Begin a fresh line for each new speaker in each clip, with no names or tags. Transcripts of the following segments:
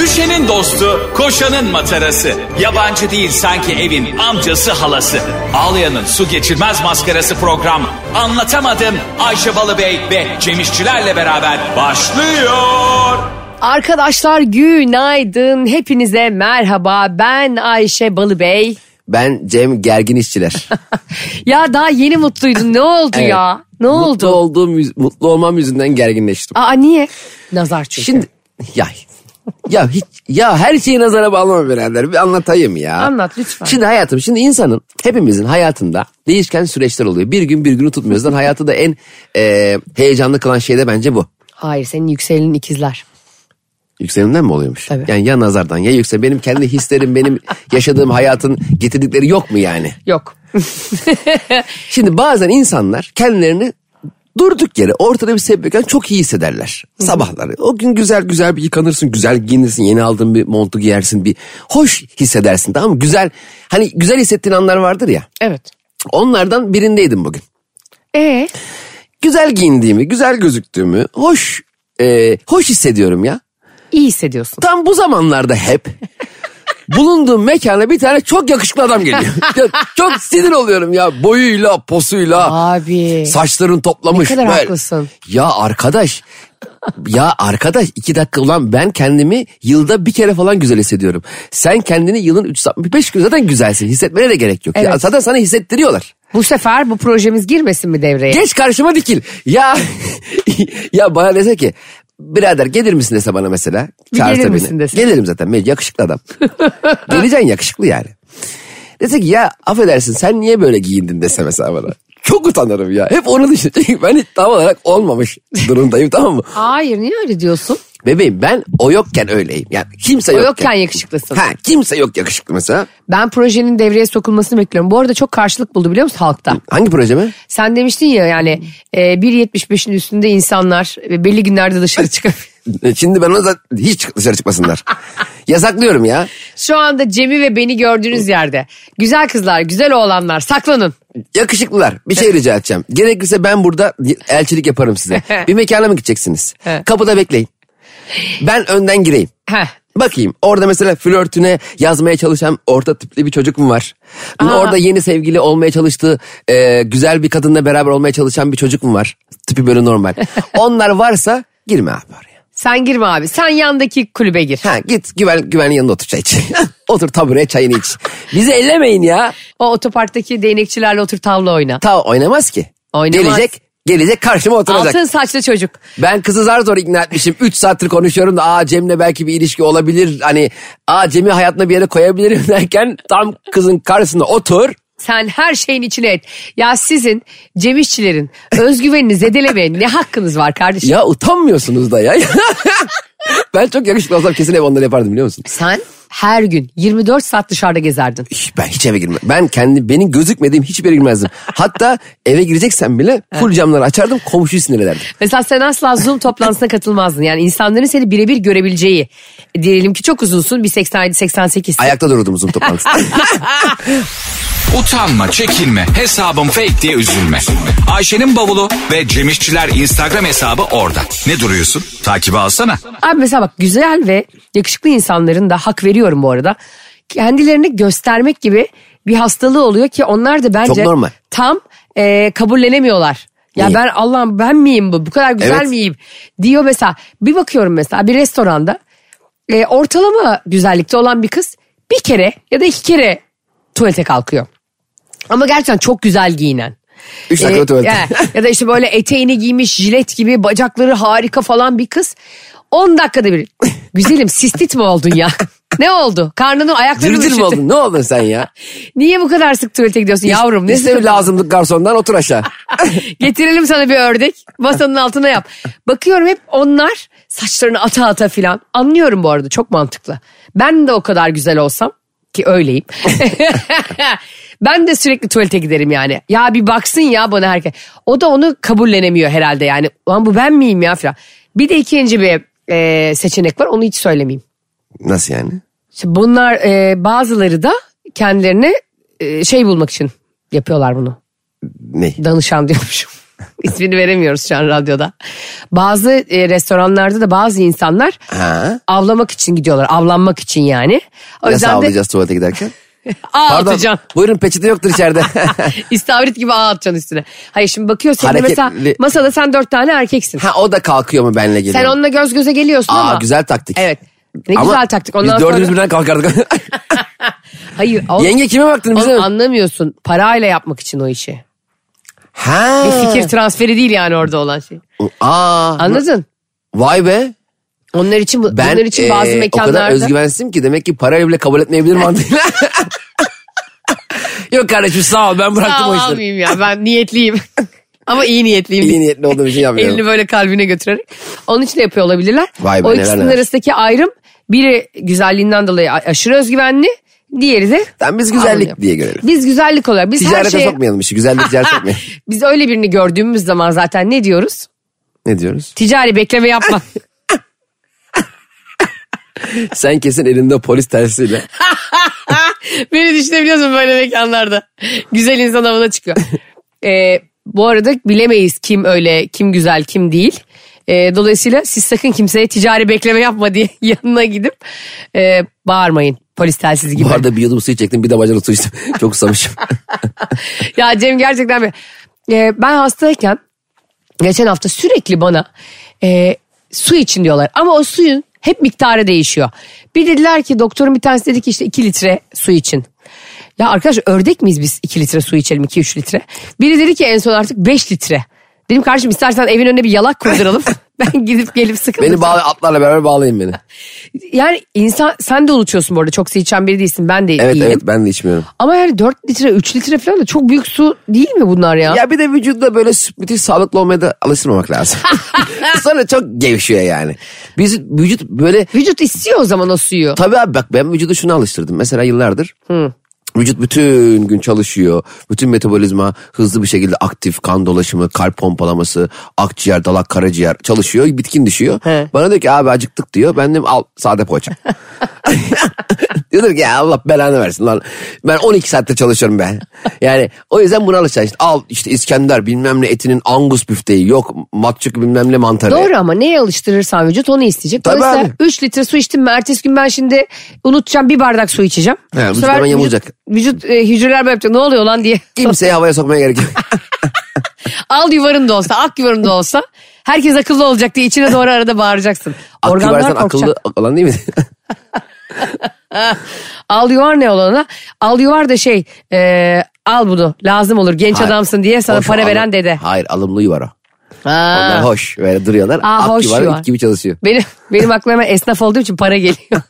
Ayşe'nin dostu, koşanın matarası. Yabancı değil sanki evin amcası halası. Ağlayan'ın su geçirmez maskarası program. Anlatamadım Ayşe Balıbey ve Cemişçilerle beraber başlıyor.
Arkadaşlar günaydın. Hepinize merhaba. Ben Ayşe Balıbey.
Ben Cem Gergin işçiler.
Ya daha yeni mutluydun. Ne oldu
Evet.
ya? Ne oldu?
Mutlu olduğum, yüz- mutlu olmam yüzünden gerginleştim.
Aa niye? Nazar çünkü.
Şimdi ya ya hiç ya her şeyi nazara bağlama birader. Bir anlatayım ya.
Anlat lütfen.
Şimdi hayatım şimdi insanın hepimizin hayatında değişken süreçler oluyor. Bir gün bir günü tutmuyoruz. Lan hayatı da en e, heyecanlı kılan şey de bence bu.
Hayır senin yükselenin ikizler.
Yükselimden mi oluyormuş?
Tabii.
Yani ya nazardan ya yüksel. Benim kendi hislerim benim yaşadığım hayatın getirdikleri yok mu yani?
Yok.
Şimdi bazen insanlar kendilerini durduk yere ortada bir sebep yokken çok iyi hissederler. Sabahları o gün güzel güzel bir yıkanırsın, güzel giyinirsin, yeni aldığın bir montu giyersin, bir hoş hissedersin tamam mı? Güzel, hani güzel hissettiğin anlar vardır ya.
Evet.
Onlardan birindeydim bugün.
Ee,
Güzel giyindiğimi, güzel gözüktüğümü, hoş e, hoş hissediyorum ya.
iyi hissediyorsun.
Tam bu zamanlarda hep bulunduğum mekana bir tane çok yakışıklı adam geliyor. Ya çok sinir oluyorum ya boyuyla, posuyla.
Abi.
Saçların toplamış.
Ne kadar haklısın.
Ya arkadaş. ya arkadaş iki dakika ulan ben kendimi yılda bir kere falan güzel hissediyorum. Sen kendini yılın 365 gün zaten güzelsin. Hissetmene de gerek yok. Ya
Evet.
zaten sana hissettiriyorlar.
Bu sefer bu projemiz girmesin mi devreye?
Geç karşıma dikil. Ya ya bana dese ki birader gelir misin dese bana mesela.
Bir
çağırsa
gelir
beni.
misin dese.
Gelirim zaten ben yakışıklı adam. Geleceksin yakışıklı yani. Dese ki ya affedersin sen niye böyle giyindin dese mesela bana. Çok utanırım ya. Hep onu düşünüyorum. Çünkü ben hiç tam olarak olmamış durumdayım tamam mı?
Hayır niye öyle diyorsun?
Bebeğim ben o yokken öyleyim. Yani kimse
O
yokken.
yokken yakışıklısın.
Ha, kimse yok yakışıklı mesela.
Ben projenin devreye sokulmasını bekliyorum. Bu arada çok karşılık buldu biliyor musun halkta?
Hangi proje mi?
Sen demiştin ya yani e, 1.75'in üstünde insanlar e, belli günlerde dışarı çıkabilir.
E, Şimdi ben ona zaten hiç dışarı çıkmasınlar. Yasaklıyorum ya.
Şu anda Cem'i ve beni gördüğünüz yerde. Güzel kızlar, güzel oğlanlar saklanın.
Yakışıklılar bir şey rica edeceğim. Gerekirse ben burada elçilik yaparım size. Bir mekana mı gideceksiniz?
He.
Kapıda bekleyin. Ben önden gireyim.
Heh.
Bakayım orada mesela flörtüne yazmaya çalışan orta tipli bir çocuk mu var? Orada yeni sevgili olmaya çalıştığı e, güzel bir kadınla beraber olmaya çalışan bir çocuk mu var? Tipi böyle normal. Onlar varsa girme abi oraya.
Sen girme abi. Sen yandaki kulübe gir.
Ha, git güven, güvenli yanında otur çay iç. otur tabureye çayını iç. Bizi ellemeyin ya.
O otoparktaki değnekçilerle otur tavla oyna.
Ta oynamaz ki.
Oynamaz.
Gelecek, gelecek karşıma oturacak.
Altın saçlı çocuk.
Ben kızı zar zor ikna etmişim. 3 saattir konuşuyorum da aa Cem'le belki bir ilişki olabilir. Hani aa Cem'i hayatına bir yere koyabilirim derken tam kızın karşısında otur.
Sen her şeyin içine et. Ya sizin Cem İşçilerin özgüvenini zedelemeye ne hakkınız var kardeşim?
Ya utanmıyorsunuz da ya. ben çok yakışıklı olsam kesin ev onları yapardım biliyor musun?
Sen her gün 24 saat dışarıda gezerdin.
Hiç- Ben hiç eve girmem. Ben kendi benim gözükmediğim hiçbir yere girmezdim. Hatta eve gireceksen bile full camları açardım komşuyu sinir ederdim.
Mesela sen asla Zoom toplantısına katılmazdın. Yani insanların seni birebir görebileceği. Diyelim ki çok uzunsun. Bir 87-88.
Ayakta dururdum uzun toplantısında.
Utanma, çekinme, hesabım fake diye üzülme. Ayşe'nin bavulu ve Cemişçiler Instagram hesabı orada. Ne duruyorsun? Takibi alsana.
Abi mesela bak güzel ve yakışıklı insanların da hak veriyorum bu arada. Kendilerini göstermek gibi bir hastalığı oluyor ki onlar da bence
Çok normal.
tam e, kabullenemiyorlar. Ya
Neyi?
ben Allah'ım ben miyim bu? Bu kadar güzel
Evet.
miyim? Diyor mesela. Bir bakıyorum mesela bir restoranda e, ortalama güzellikte olan bir kız bir kere ya da iki kere tuvalete kalkıyor. Ama gerçekten çok güzel giyinen.
Üç dakika
Ee,
tuvalete.
ya- ya da işte böyle eteğini giymiş jilet gibi bacakları harika falan bir kız. 10 dakikada bir. Güzelim sistit mi oldun ya? Ne oldu? Karnını ayaklarını
Cırcır mı
üşüttün.
oldun? Ne oldun sen ya?
Niye bu kadar sık tuvalete gidiyorsun yavrum? Ne
İşte bir
sıkıntı?
lazımlık garsondan otur aşağı.
Getirelim sana bir ördek. Masanın altına yap. Bakıyorum hep onlar saçlarını ata ata filan. Anlıyorum bu arada çok mantıklı. Ben de o kadar güzel olsam ki öyleyim. ben de sürekli tuvalete giderim yani. Ya bir baksın ya bana herkes. O da onu kabullenemiyor herhalde yani. Lan bu ben miyim ya filan. Bir de ikinci bir e, seçenek var onu hiç söylemeyeyim.
Nasıl yani?
Şimdi bunlar e, bazıları da kendilerine e, şey bulmak için yapıyorlar bunu.
Ne?
Danışan diyormuşum. İsmini veremiyoruz şu an radyoda. Bazı e, restoranlarda da bazı insanlar
Ha.
avlamak için gidiyorlar. Avlanmak için yani. O
Nasıl
yüzden de
avlayacağız tuvalete giderken?
ağ
Pardon.
atacaksın.
Buyurun peçete yoktur içeride.
İstavrit gibi ağ atacaksın üstüne. Hayır şimdi bakıyor senin de mesela
Hareketli-
masada sen dört tane erkeksin.
ha o da kalkıyor mu benle geliyor?
Sen onunla göz göze geliyorsun
Aa
ama.
güzel taktik.
Evet. Ne
Ama
güzel taktik. Ondan
biz dördümüz
sonra...
birden kalkardık.
Hayır. o-
Yenge kime baktın bize?
Onu
mi?
anlamıyorsun. Parayla yapmak için o işi.
ha.
Bir fikir transferi değil yani orada olan şey.
Aa.
Anladın?
Vay be.
Onlar için bu-
Ben
bunlar için bazı
ee, o
mekanlarda
kadar özgüvensizim ki demek ki parayla bile kabul etmeyebilir mantığıyla. Yok kardeşim sağ ol ben bıraktım
Sağ ol,
o işleri.
almayayım ya ben niyetliyim. Ama iyi niyetliyim.
İyi niyetli olduğum için yapmıyorum.
Elini böyle kalbine götürerek. Onun için de yapıyor olabilirler.
Vay be,
o
neler
ikisinin
neler.
arasındaki ayrım biri güzelliğinden dolayı a- aşırı özgüvenli. Diğeri de
Tamam, biz güzellik
alınıyor.
diye görelim.
Biz güzellik olarak. Biz her
Ticarete
şeye,
sokmayalım işi. Güzellik ticarete sokmayalım.
Biz öyle birini gördüğümüz zaman zaten ne diyoruz?
Ne diyoruz?
Ticari bekleme yapma.
Sen kesin elinde polis telsiyle.
Beni düşünebiliyor musun böyle mekanlarda? Güzel insan havına çıkıyor. Ee, bu arada bilemeyiz kim öyle, kim güzel, kim değil. Ee, dolayısıyla siz sakın kimseye ticari bekleme yapma diye yanına gidip e, bağırmayın. Polis telsizi gibi.
Bu arada bir yudum suyu çektim bir de bacana su içtim. Çok susamışım.
ya Cem gerçekten bir... Ee, ben hastayken geçen hafta sürekli bana e, su için diyorlar. Ama o suyun hep miktarı değişiyor. Bir dediler ki doktorun bir tanesi dedi ki işte 2 litre su için. Ya arkadaş ördek miyiz biz 2 litre su içelim 2-3 litre. Biri dedi ki en son artık 5 litre. Dedim kardeşim istersen evin önüne bir yalak kurduralım. ben gidip gelip sıkılacağım.
beni bağla atlarla beraber bağlayın beni.
Yani insan sen de unutuyorsun bu arada çok su içen biri değilsin ben de
Evet
iyiyim.
evet ben de içmiyorum.
Ama yani 4 litre 3 litre falan da çok büyük su değil mi bunlar ya?
Ya bir de vücuda böyle sü- müthiş sağlıklı olmaya da alıştırmamak lazım. Sonra çok gevşiyor yani. Biz vücut böyle
Vücut istiyor o zaman o suyu.
Tabii abi bak ben vücudu şuna alıştırdım. Mesela yıllardır vücut bütün gün çalışıyor. Bütün metabolizma hızlı bir şekilde aktif kan dolaşımı, kalp pompalaması, akciğer, dalak, karaciğer çalışıyor. Bitkin düşüyor.
He.
Bana diyor ki abi acıktık diyor. Ben diyorum al sade poğaça. Diyordur ki ya Allah belanı versin lan. Ben 12 saatte çalışıyorum be. Yani o yüzden buna alışacaksın. İşte al işte İskender bilmem ne etinin angus büfteği yok. Matçuk bilmem ne mantarı.
Doğru ama neye alıştırırsan vücut onu isteyecek.
Tabii
Dolayısıyla
abi.
3 litre su içtim mi ertesi gün ben şimdi unutacağım bir bardak su içeceğim.
He,
Bu
vücut
sefer
hemen
vücut,
yamulacak.
vücut e, hücreler böyle yapacak ne oluyor lan diye.
Kimseyi havaya sokmaya gerek yok.
Al yuvarın da olsa ak yuvarın da olsa herkes akıllı olacak diye içine doğru arada bağıracaksın.
Aklı
Organlar
versen
korkacak.
akıllı olan değil mi?
Al yuvar ne olana? Al yuvar da şey e, al bunu lazım olur genç
Hayır.
adamsın diye sana
Hoş
para
alım-
veren dede.
Hayır alımlı yuvar o.
Ha.
Onlar hoş böyle duruyorlar.
Aa,
Ak
hoş
yuvarı
yuvar.
ip gibi çalışıyor.
Benim, benim aklıma esnaf olduğum için para geliyor.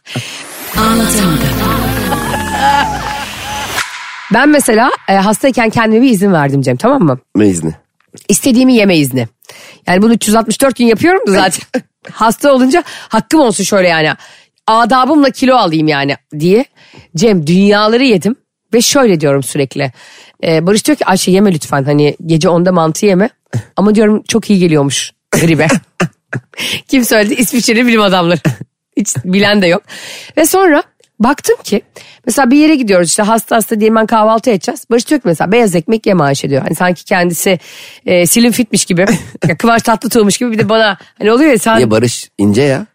ben mesela e, hastayken kendime bir izin verdim Cem tamam mı?
Ne izni?
İstediğimi yeme izni. Yani bunu 364 gün yapıyorum da zaten. Hasta olunca hakkım olsun şöyle yani. Adabımla kilo alayım yani diye. Cem dünyaları yedim ve şöyle diyorum sürekli. E, Barış diyor ki Ayşe yeme lütfen hani gece 10'da mantı yeme. Ama diyorum çok iyi geliyormuş gribe. Kim söyledi? İsviçreli bilim adamları. Hiç bilen de yok. Ve sonra baktım ki mesela bir yere gidiyoruz işte hasta hasta diyelim ben kahvaltı edeceğiz. Barış diyor ki mesela beyaz ekmek yeme Ayşe diyor. Hani sanki kendisi e, Slim Fit'miş gibi. ya Kıvanç Tatlıtuğ'muş gibi bir de bana hani oluyor ya sen.
Niye Barış ince ya?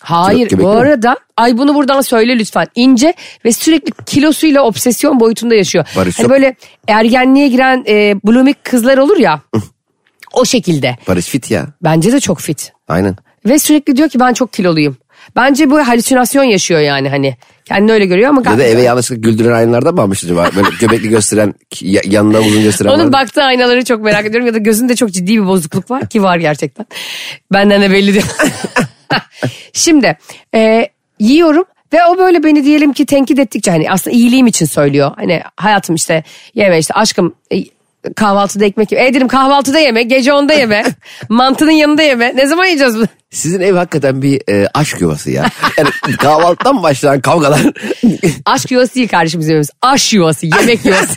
Hayır
Göbekli
bu
mi?
arada ay bunu buradan söyle lütfen. İnce ve sürekli kilosuyla obsesyon boyutunda yaşıyor.
Barış
hani
yok.
böyle ergenliğe giren e, bulumik kızlar olur ya. o şekilde.
Barış fit ya.
Bence de çok fit.
Aynen.
Ve sürekli diyor ki ben çok kiloluyum. Bence bu halüsinasyon yaşıyor yani hani. Kendini öyle görüyor ama
Ya da eve yanlışlıkla güldüren aynalardan mı almış acaba? Böyle göbekli gösteren, ya- yanına uzun gösteren
onun
vardı.
baktığı aynaları çok merak ediyorum ya da gözünde çok ciddi bir bozukluk var ki var gerçekten. Benden de belli değil. Şimdi e, yiyorum ve o böyle beni diyelim ki tenkit ettikçe hani aslında iyiliğim için söylüyor. Hani hayatım işte yeme işte aşkım e, kahvaltıda ekmek yeme. E dedim kahvaltıda yeme gece onda yeme mantının yanında yeme ne zaman yiyeceğiz bunu?
Sizin ev hakikaten bir e, aşk yuvası ya. Yani kahvaltıdan başlayan kavgalar.
Aşk yuvası değil kardeşim bizim evimiz. Aş yuvası, yemek yuvası.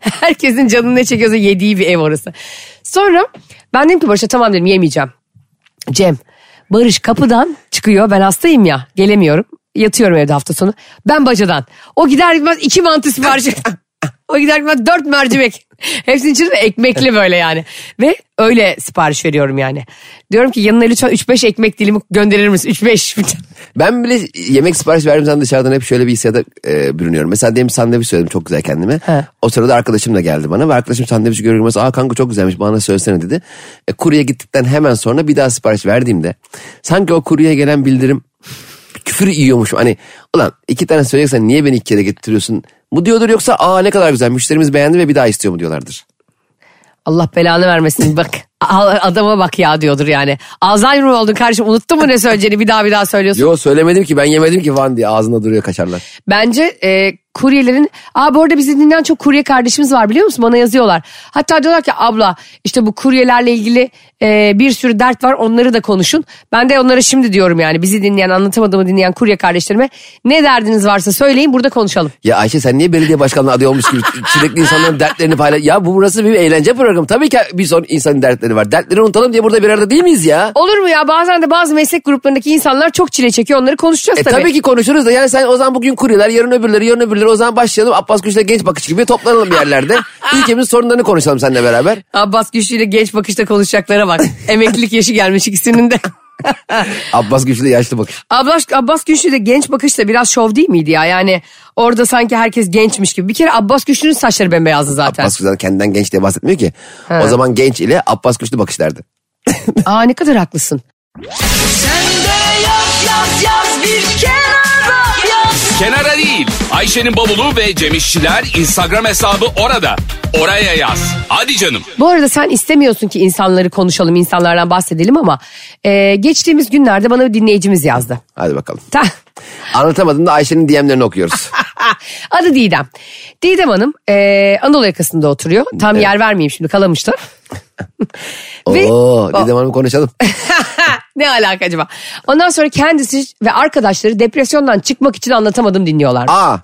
Herkesin canını ne çekiyorsa yediği bir ev orası. Sonra ben dedim ki Barış'a tamam dedim yemeyeceğim. Cem, Barış kapıdan çıkıyor. Ben hastayım ya, gelemiyorum. Yatıyorum evde hafta sonu. Ben bacadan. O gider gitmez iki mantı sipariş. o gider gitmez dört mercimek. Hepsinin içinde de ekmekli böyle yani. Ve öyle sipariş veriyorum yani. Diyorum ki yanına lütfen 3-5 ekmek dilimi gönderir misin? 3-5.
Ben bile yemek sipariş verdiğim zaman dışarıdan hep şöyle bir hissiyata e, bürünüyorum. Mesela diyelim sandviç söyledim çok güzel kendime.
He.
O sırada arkadaşım da geldi bana ve arkadaşım sandviçi görür görmez aa kanka çok güzelmiş bana söylesene dedi. E, kurye gittikten hemen sonra bir daha sipariş verdiğimde sanki o kuryeye gelen bildirim küfür yiyormuş. Hani ulan iki tane söyleyeceksen niye beni iki kere getiriyorsun mu diyordur yoksa aa ne kadar güzel müşterimiz beğendi ve bir daha istiyor mu diyorlardır.
Allah belanı vermesin bak. Al- Adama bak ya diyordur yani. Alzheimer mi oldun kardeşim unuttun mu ne söyleyeceğini bir daha bir daha söylüyorsun.
Yo söylemedim ki ben yemedim ki falan diye ağzında duruyor kaçarlar.
Bence e, kuryelerin... Aa bu arada bizi dinleyen çok kurye kardeşimiz var biliyor musun? Bana yazıyorlar. Hatta diyorlar ki abla işte bu kuryelerle ilgili e, bir sürü dert var onları da konuşun. Ben de onlara şimdi diyorum yani bizi dinleyen anlatamadığımı dinleyen kurye kardeşlerime ne derdiniz varsa söyleyin burada konuşalım.
Ya Ayşe sen niye belediye başkanlığı adayı olmuş gibi çilekli insanların dertlerini paylaş... Ya bu burası bir eğlence programı. Tabii ki bir son insanın dertleri var. Dertleri unutalım diye burada bir arada değil miyiz ya?
Olur mu ya bazen de bazı meslek gruplarındaki insanlar çok çile çekiyor onları konuşacağız
E tabii.
tabii.
ki konuşuruz da yani sen o zaman bugün kuryeler, yarın öbürleri, yarın öbürleri o zaman başlayalım. Abbas Güç'le genç bakış gibi toplanalım bir yerlerde. Ülkemizin sorunlarını konuşalım seninle beraber.
Abbas Güçlü ile genç bakışta konuşacaklara bak. Emeklilik yaşı gelmiş ikisinin de.
Abbas Güç'le yaşlı bakış.
Abbas, Abbas Güçlü de genç bakışta biraz şov değil miydi ya? Yani orada sanki herkes gençmiş gibi. Bir kere Abbas Güçlü'nün saçları bembeyazdı zaten.
Abbas Güç'ten kendinden genç diye bahsetmiyor ki. O zaman genç ile Abbas Güçlü bakış derdi.
Aa ne kadar haklısın.
Kenara değil. Ayşe'nin bavulu ve Cemişçiler Instagram hesabı orada. Oraya yaz. Hadi canım.
Bu arada sen istemiyorsun ki insanları konuşalım, insanlardan bahsedelim ama e, geçtiğimiz günlerde bana bir dinleyicimiz yazdı.
Hadi bakalım.
Ta-
Anlatamadım da Ayşe'nin DM'lerini okuyoruz.
Adı Didem. Didem Hanım e, Anadolu yakasında oturuyor. Tam yer vermeyeyim şimdi kalamıştı. Ve-
Oo, Didem Hanım konuşalım.
ne alaka acaba? Ondan sonra kendisi ve arkadaşları depresyondan çıkmak için anlatamadım dinliyorlar.
Aa,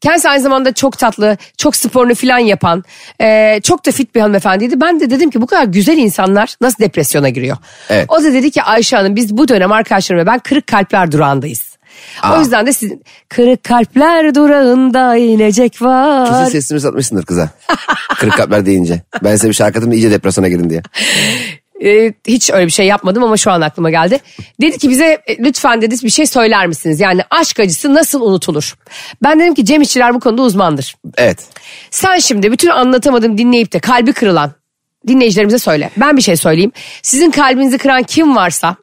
Kendisi aynı zamanda çok tatlı, çok sporunu falan yapan, e, çok da fit bir hanımefendiydi. Ben de dedim ki bu kadar güzel insanlar nasıl depresyona giriyor?
Evet.
O da dedi ki Ayşe Hanım biz bu dönem arkadaşlarım ve ben kırık kalpler durağındayız. O yüzden de sizin kırık kalpler durağında inecek
Kesin
var.
sesimi satmışsındır kıza. Kırık kalpler deyince. Ben size bir şarkı atayım da iyice depresyona girin diye.
E, hiç öyle bir şey yapmadım ama şu an aklıma geldi. Dedi ki bize e, lütfen dedi bir şey söyler misiniz? Yani aşk acısı nasıl unutulur? Ben dedim ki Cem İşçiler bu konuda uzmandır.
Evet.
Sen şimdi bütün anlatamadım dinleyip de kalbi kırılan dinleyicilerimize söyle. Ben bir şey söyleyeyim. Sizin kalbinizi kıran kim varsa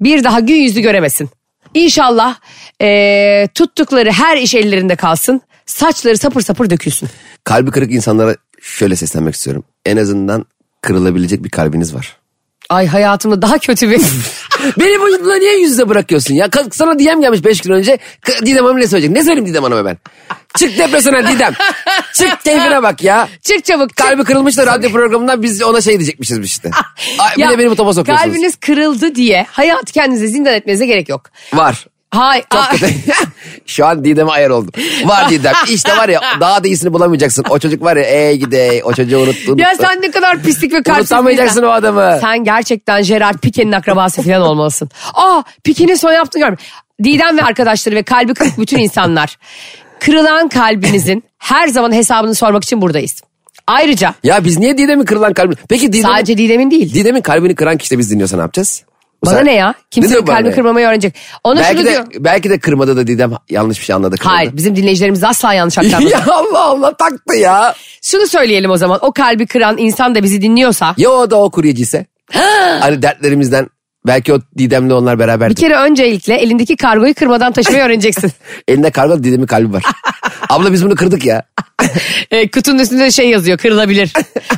bir daha gün yüzü göremesin. İnşallah eee, tuttukları her iş ellerinde kalsın. Saçları sapır sapır dökülsün.
Kalbi kırık insanlara şöyle seslenmek istiyorum. En azından kırılabilecek bir kalbiniz var.
Ay hayatımda daha kötü bir...
Beni bu yüzden niye yüz yüze bırakıyorsun ya? Ka- Sana DM gelmiş 5 gün önce. K- Didem Hanım ne söyleyecek? Ne söyleyeyim Didem Hanım'a ben? Çık depresyona Didem. Çık keyfine bak ya.
Çık çabuk. çık.
Kalbi kırılmış da radyo programından biz ona şey diyecekmişiz biz işte. Ay, bir
Ya,
de beni bu topa sokuyorsunuz.
Kalbiniz kırıldı diye hayatı kendinize zindan etmenize gerek yok.
Var.
Hay, ah.
Çok
aa,
kötü. Şu an Didem'e ayar oldum. Var Didem. İşte var ya daha da iyisini bulamayacaksın. O çocuk var ya ey gidey o çocuğu unuttun.
ya sen ne kadar pislik ve kalpsiz bir
Unutamayacaksın
insan.
o adamı.
Sen gerçekten Gerard Pique'nin akrabası falan olmalısın. Aa Pique'nin son yaptığını görmedim. Didem ve arkadaşları ve kalbi kırık bütün insanlar. Kırılan kalbinizin her zaman hesabını sormak için buradayız. Ayrıca
Ya biz niye Didem'in kırılan kalbini... Peki Didem'in,
sadece Didem'in değil.
Didem'in kalbini kıran kişi de biz dinliyorsa ne yapacağız? Bu
Bana
sefer-
ne ya?
Ne
Kimsenin
diyor bana
kalbi
ya?
kırmamayı öğrenecek. Ona şunu
Belki de,
diyor.
belki de kırmadı da Didem yanlış bir şey anladı. kırmadı.
Hayır bizim dinleyicilerimiz asla yanlış aktarmadı.
ya Allah Allah taktı ya.
şunu söyleyelim o zaman. O kalbi kıran insan da bizi dinliyorsa.
Ya o da o kuryeci ise? hani dertlerimizden belki o Didem'le onlar
Bir
beraberdi.
kere öncelikle elindeki kargoyu kırmadan taşımayı öğreneceksin.
Elinde kargo Didem'in kalbi var. Abla biz bunu kırdık ya.
E, kutunun üstünde şey yazıyor kırılabilir.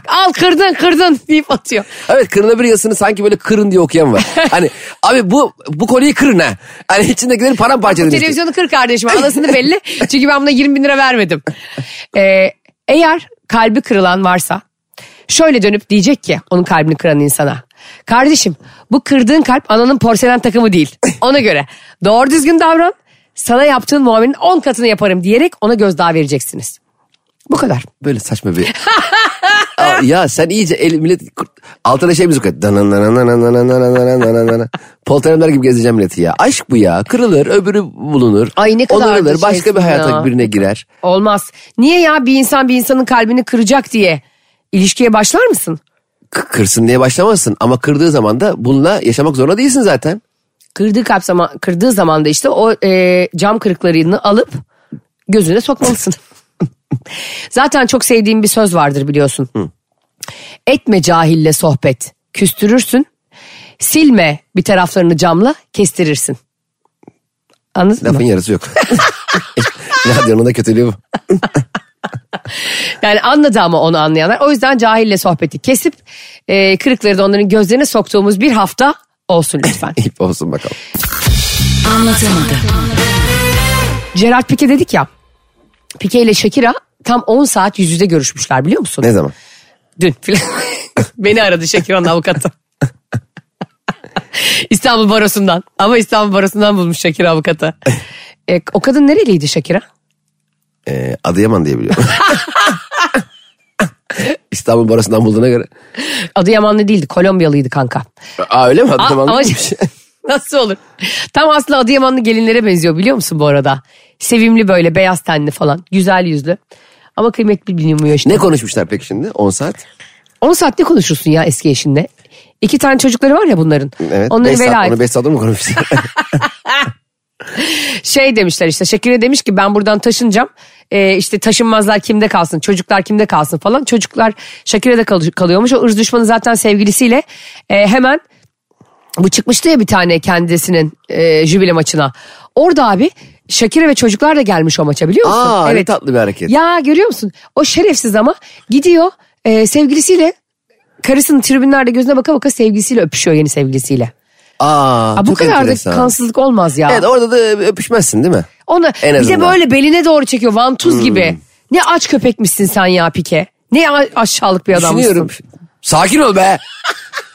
Al kırdın kırdın deyip atıyor.
Evet kırılabilir yazısını sanki böyle kırın diye okuyan var. hani abi bu bu konuyu kırın ha. Hani içindekileri paramparça edin. işte.
Televizyonu kır kardeşim alasını belli. Çünkü ben buna 20 bin lira vermedim. E, eğer kalbi kırılan varsa şöyle dönüp diyecek ki onun kalbini kıran insana. Kardeşim bu kırdığın kalp ananın porselen takımı değil. Ona göre doğru düzgün davran. Sana yaptığın muamelenin 10 katını yaparım diyerek ona gözdağı vereceksiniz. Bu kadar.
Böyle saçma bir... Aa, ya sen iyice el, millet altına şey müzik et. Polteremler gibi gezeceğim milleti ya. Aşk bu ya. Kırılır, öbürü bulunur.
Ay ne kadar
Onarılır, başka
şeysin
bir hayata
ya.
birine girer.
Olmaz. Niye ya bir insan bir insanın kalbini kıracak diye İlişkiye başlar mısın?
K- kırsın diye başlamazsın ama kırdığı zaman da bununla yaşamak zorunda değilsin zaten.
Kırdığı kapsama kırdığı zaman da işte o e, cam kırıklarını alıp gözüne sokmalısın. Zaten çok sevdiğim bir söz vardır biliyorsun. Etme cahille sohbet. Küstürürsün. Silme bir taraflarını camla kestirirsin. Anladın mı?
Lafın yarısı yok. Radyonun da kötülüğü bu.
Yani anladı ama onu anlayanlar. O yüzden cahille sohbeti kesip e, kırıkları da onların gözlerine soktuğumuz bir hafta olsun lütfen.
İp olsun bakalım.
Gerard Pique dedik ya. Pique ile Shakira tam 10 saat yüz yüze görüşmüşler biliyor musun?
Ne zaman?
Dün filan. Beni aradı Shakira'nın avukatı. İstanbul Barosu'ndan. Ama İstanbul Barosu'ndan bulmuş Shakira avukatı. E, o kadın nereliydi Shakira?
Ee, Adıyaman diye biliyorum. İstanbul Barası'ndan bulduğuna göre.
Adıyamanlı değildi. Kolombiyalıydı kanka.
Aa öyle mi?
Aa,
Adıyaman
ama-
değilmiş.
Nasıl olur? Tam aslında Adıyamanlı gelinlere benziyor biliyor musun bu arada? Sevimli böyle beyaz tenli falan. Güzel yüzlü. Ama kıymetli bilinmiyor işte.
ne konuşmuşlar peki şimdi? 10 saat.
10 saat ne konuşursun ya eski eşinle? İki tane çocukları var ya bunların.
Evet.
Onları
beş saat,
velayet.
onu 5 saat mı konuşmuşlar?
Şey demişler işte Şakir'e demiş ki ben buradan taşınacağım. Ee, işte taşınmazlar kimde kalsın çocuklar kimde kalsın falan. Çocuklar Şakir'e de kal- kalıyormuş. O ırz düşmanı zaten sevgilisiyle e, hemen bu çıkmıştı ya bir tane kendisinin e, jübile maçına. Orada abi Şakir'e ve çocuklar da gelmiş o maça biliyor musun?
Aa ne tatlı bir hareket.
Ya görüyor musun? O şerefsiz ama gidiyor e, sevgilisiyle karısının tribünlerde gözüne baka baka sevgilisiyle öpüşüyor yeni sevgilisiyle.
Aa,
Ha, bu
çok
kadar da
enteresan.
kansızlık olmaz ya.
Evet orada da öpüşmezsin değil mi?
Onu
En
bir de
azından. Hmm.
böyle beline doğru çekiyor vantuz gibi. Ne aç köpekmişsin sen ya Pike. Ne a- aşağılık bir adammışsın.
Düşünüyorum. Sakin ol be.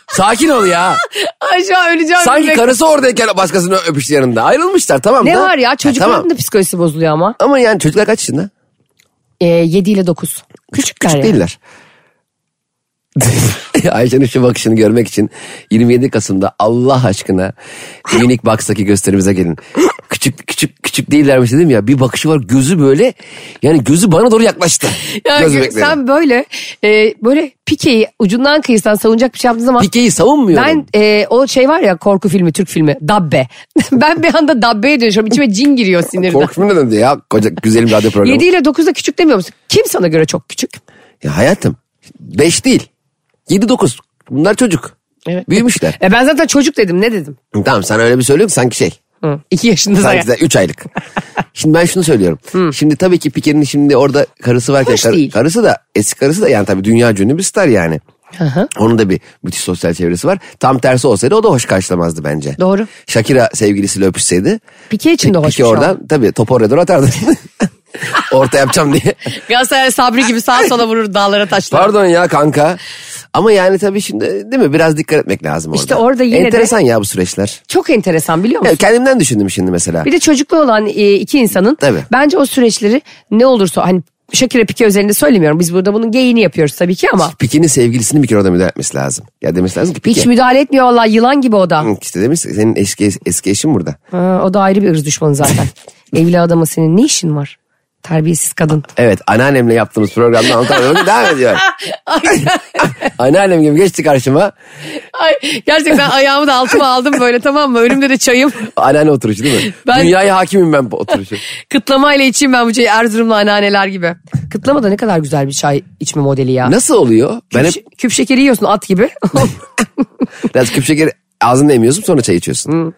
Sakin ol ya.
Aşağı öleceğim.
Sanki
bile.
karısı oradayken başkasını öpüştü yanında. Ayrılmışlar tamam
Ne
da.
var ya çocukların
Ha, tamam.
da psikolojisi bozuluyor ama.
Ama yani çocuklar kaç yaşında?
Ee, 7 ile 9. Küçük,
Küçük değiller. Ayşe'nin şu bakışını görmek için 27 Kasım'da Allah aşkına Unique Box'taki gösterimize gelin. Küçük küçük küçük değillermiş dedim ya bir bakışı var gözü böyle yani gözü bana doğru yaklaştı.
Yani
Göz
gör-
bebekleri.
sen böyle e, böyle Pike'yi ucundan kıyısından savunacak bir şey yaptığın zaman
Pike'yi savunmuyorum.
ben e, o şey var ya korku filmi Türk filmi Dabbe. ben bir anda Dabbe'ye dönüşüyorum içime cin giriyor sinirden.
Korku filmi ne dedi ya koca güzelim radyo programı.
7 ile 9'da küçük demiyor musun? Kim sana göre çok küçük?
Ya hayatım 5 değil 7-9 bunlar çocuk.
Evet.
Büyümüşler.
E ben zaten çocuk dedim ne dedim?
tamam sen öyle bir söylüyorsun sanki şey.
Hı. İki yaşında
Sanki
zaten.
zaten 3 aylık. Şimdi ben şunu söylüyorum. Şimdi tabii ki Pike'nin şimdi orada karısı varken
Hoş
kar-
değil.
karısı da eski karısı da yani tabii dünya cünlü bir star yani. Onun da bir müthiş sosyal çevresi var. Tam tersi olsaydı o da hoş karşılamazdı bence.
Doğru.
Shakira sevgilisiyle öpüşseydi.
Pike için de hoş
Pike
bir şey
oradan tabii topu oraya doğru atardı. Orta yapacağım diye.
Galatasaray Sabri gibi sağa sola vurur dağlara taşlara.
Pardon ya kanka. Ama yani tabii şimdi değil mi biraz dikkat etmek lazım orada.
İşte orada yine de-
Enteresan ya bu süreçler.
Çok enteresan biliyor
Ya
musun?
kendimden düşündüm şimdi mesela.
Bir de çocuklu olan e, iki insanın
Tabii.
bence o süreçleri ne olursa hani Şakir'e Pike özelinde söylemiyorum. Biz burada bunun geyini yapıyoruz tabii ki ama.
Pike'nin sevgilisini bir kere orada müdahale etmesi lazım. Ya demesi lazım ki Pike.
Hiç müdahale etmiyor vallahi yılan gibi o da.
Hı, İşte demiş senin eski, eski eşin burada.
Ha, o da ayrı bir ırz düşmanı zaten. Evli adama senin ne işin var? Terbiyesiz kadın.
Evet anneannemle yaptığımız programda anlatamadım. devam ediyor. Anneannem gibi geçti karşıma.
Ay, gerçekten ayağımı da altıma aldım böyle tamam mı? Önümde de çayım.
Anneanne oturuşu değil mi?
Ben-
Dünyaya hakimim ben bu oturuşu.
Kıtlamayla içeyim ben bu çayı Erzurumlu anneanneler gibi. Kıtlama da ne kadar güzel bir çay içme modeli ya.
Nasıl oluyor? Ben hep
Küp- Küp şekeri yiyorsun at gibi.
biraz küp şekeri ağzında emiyorsun sonra çay içiyorsun.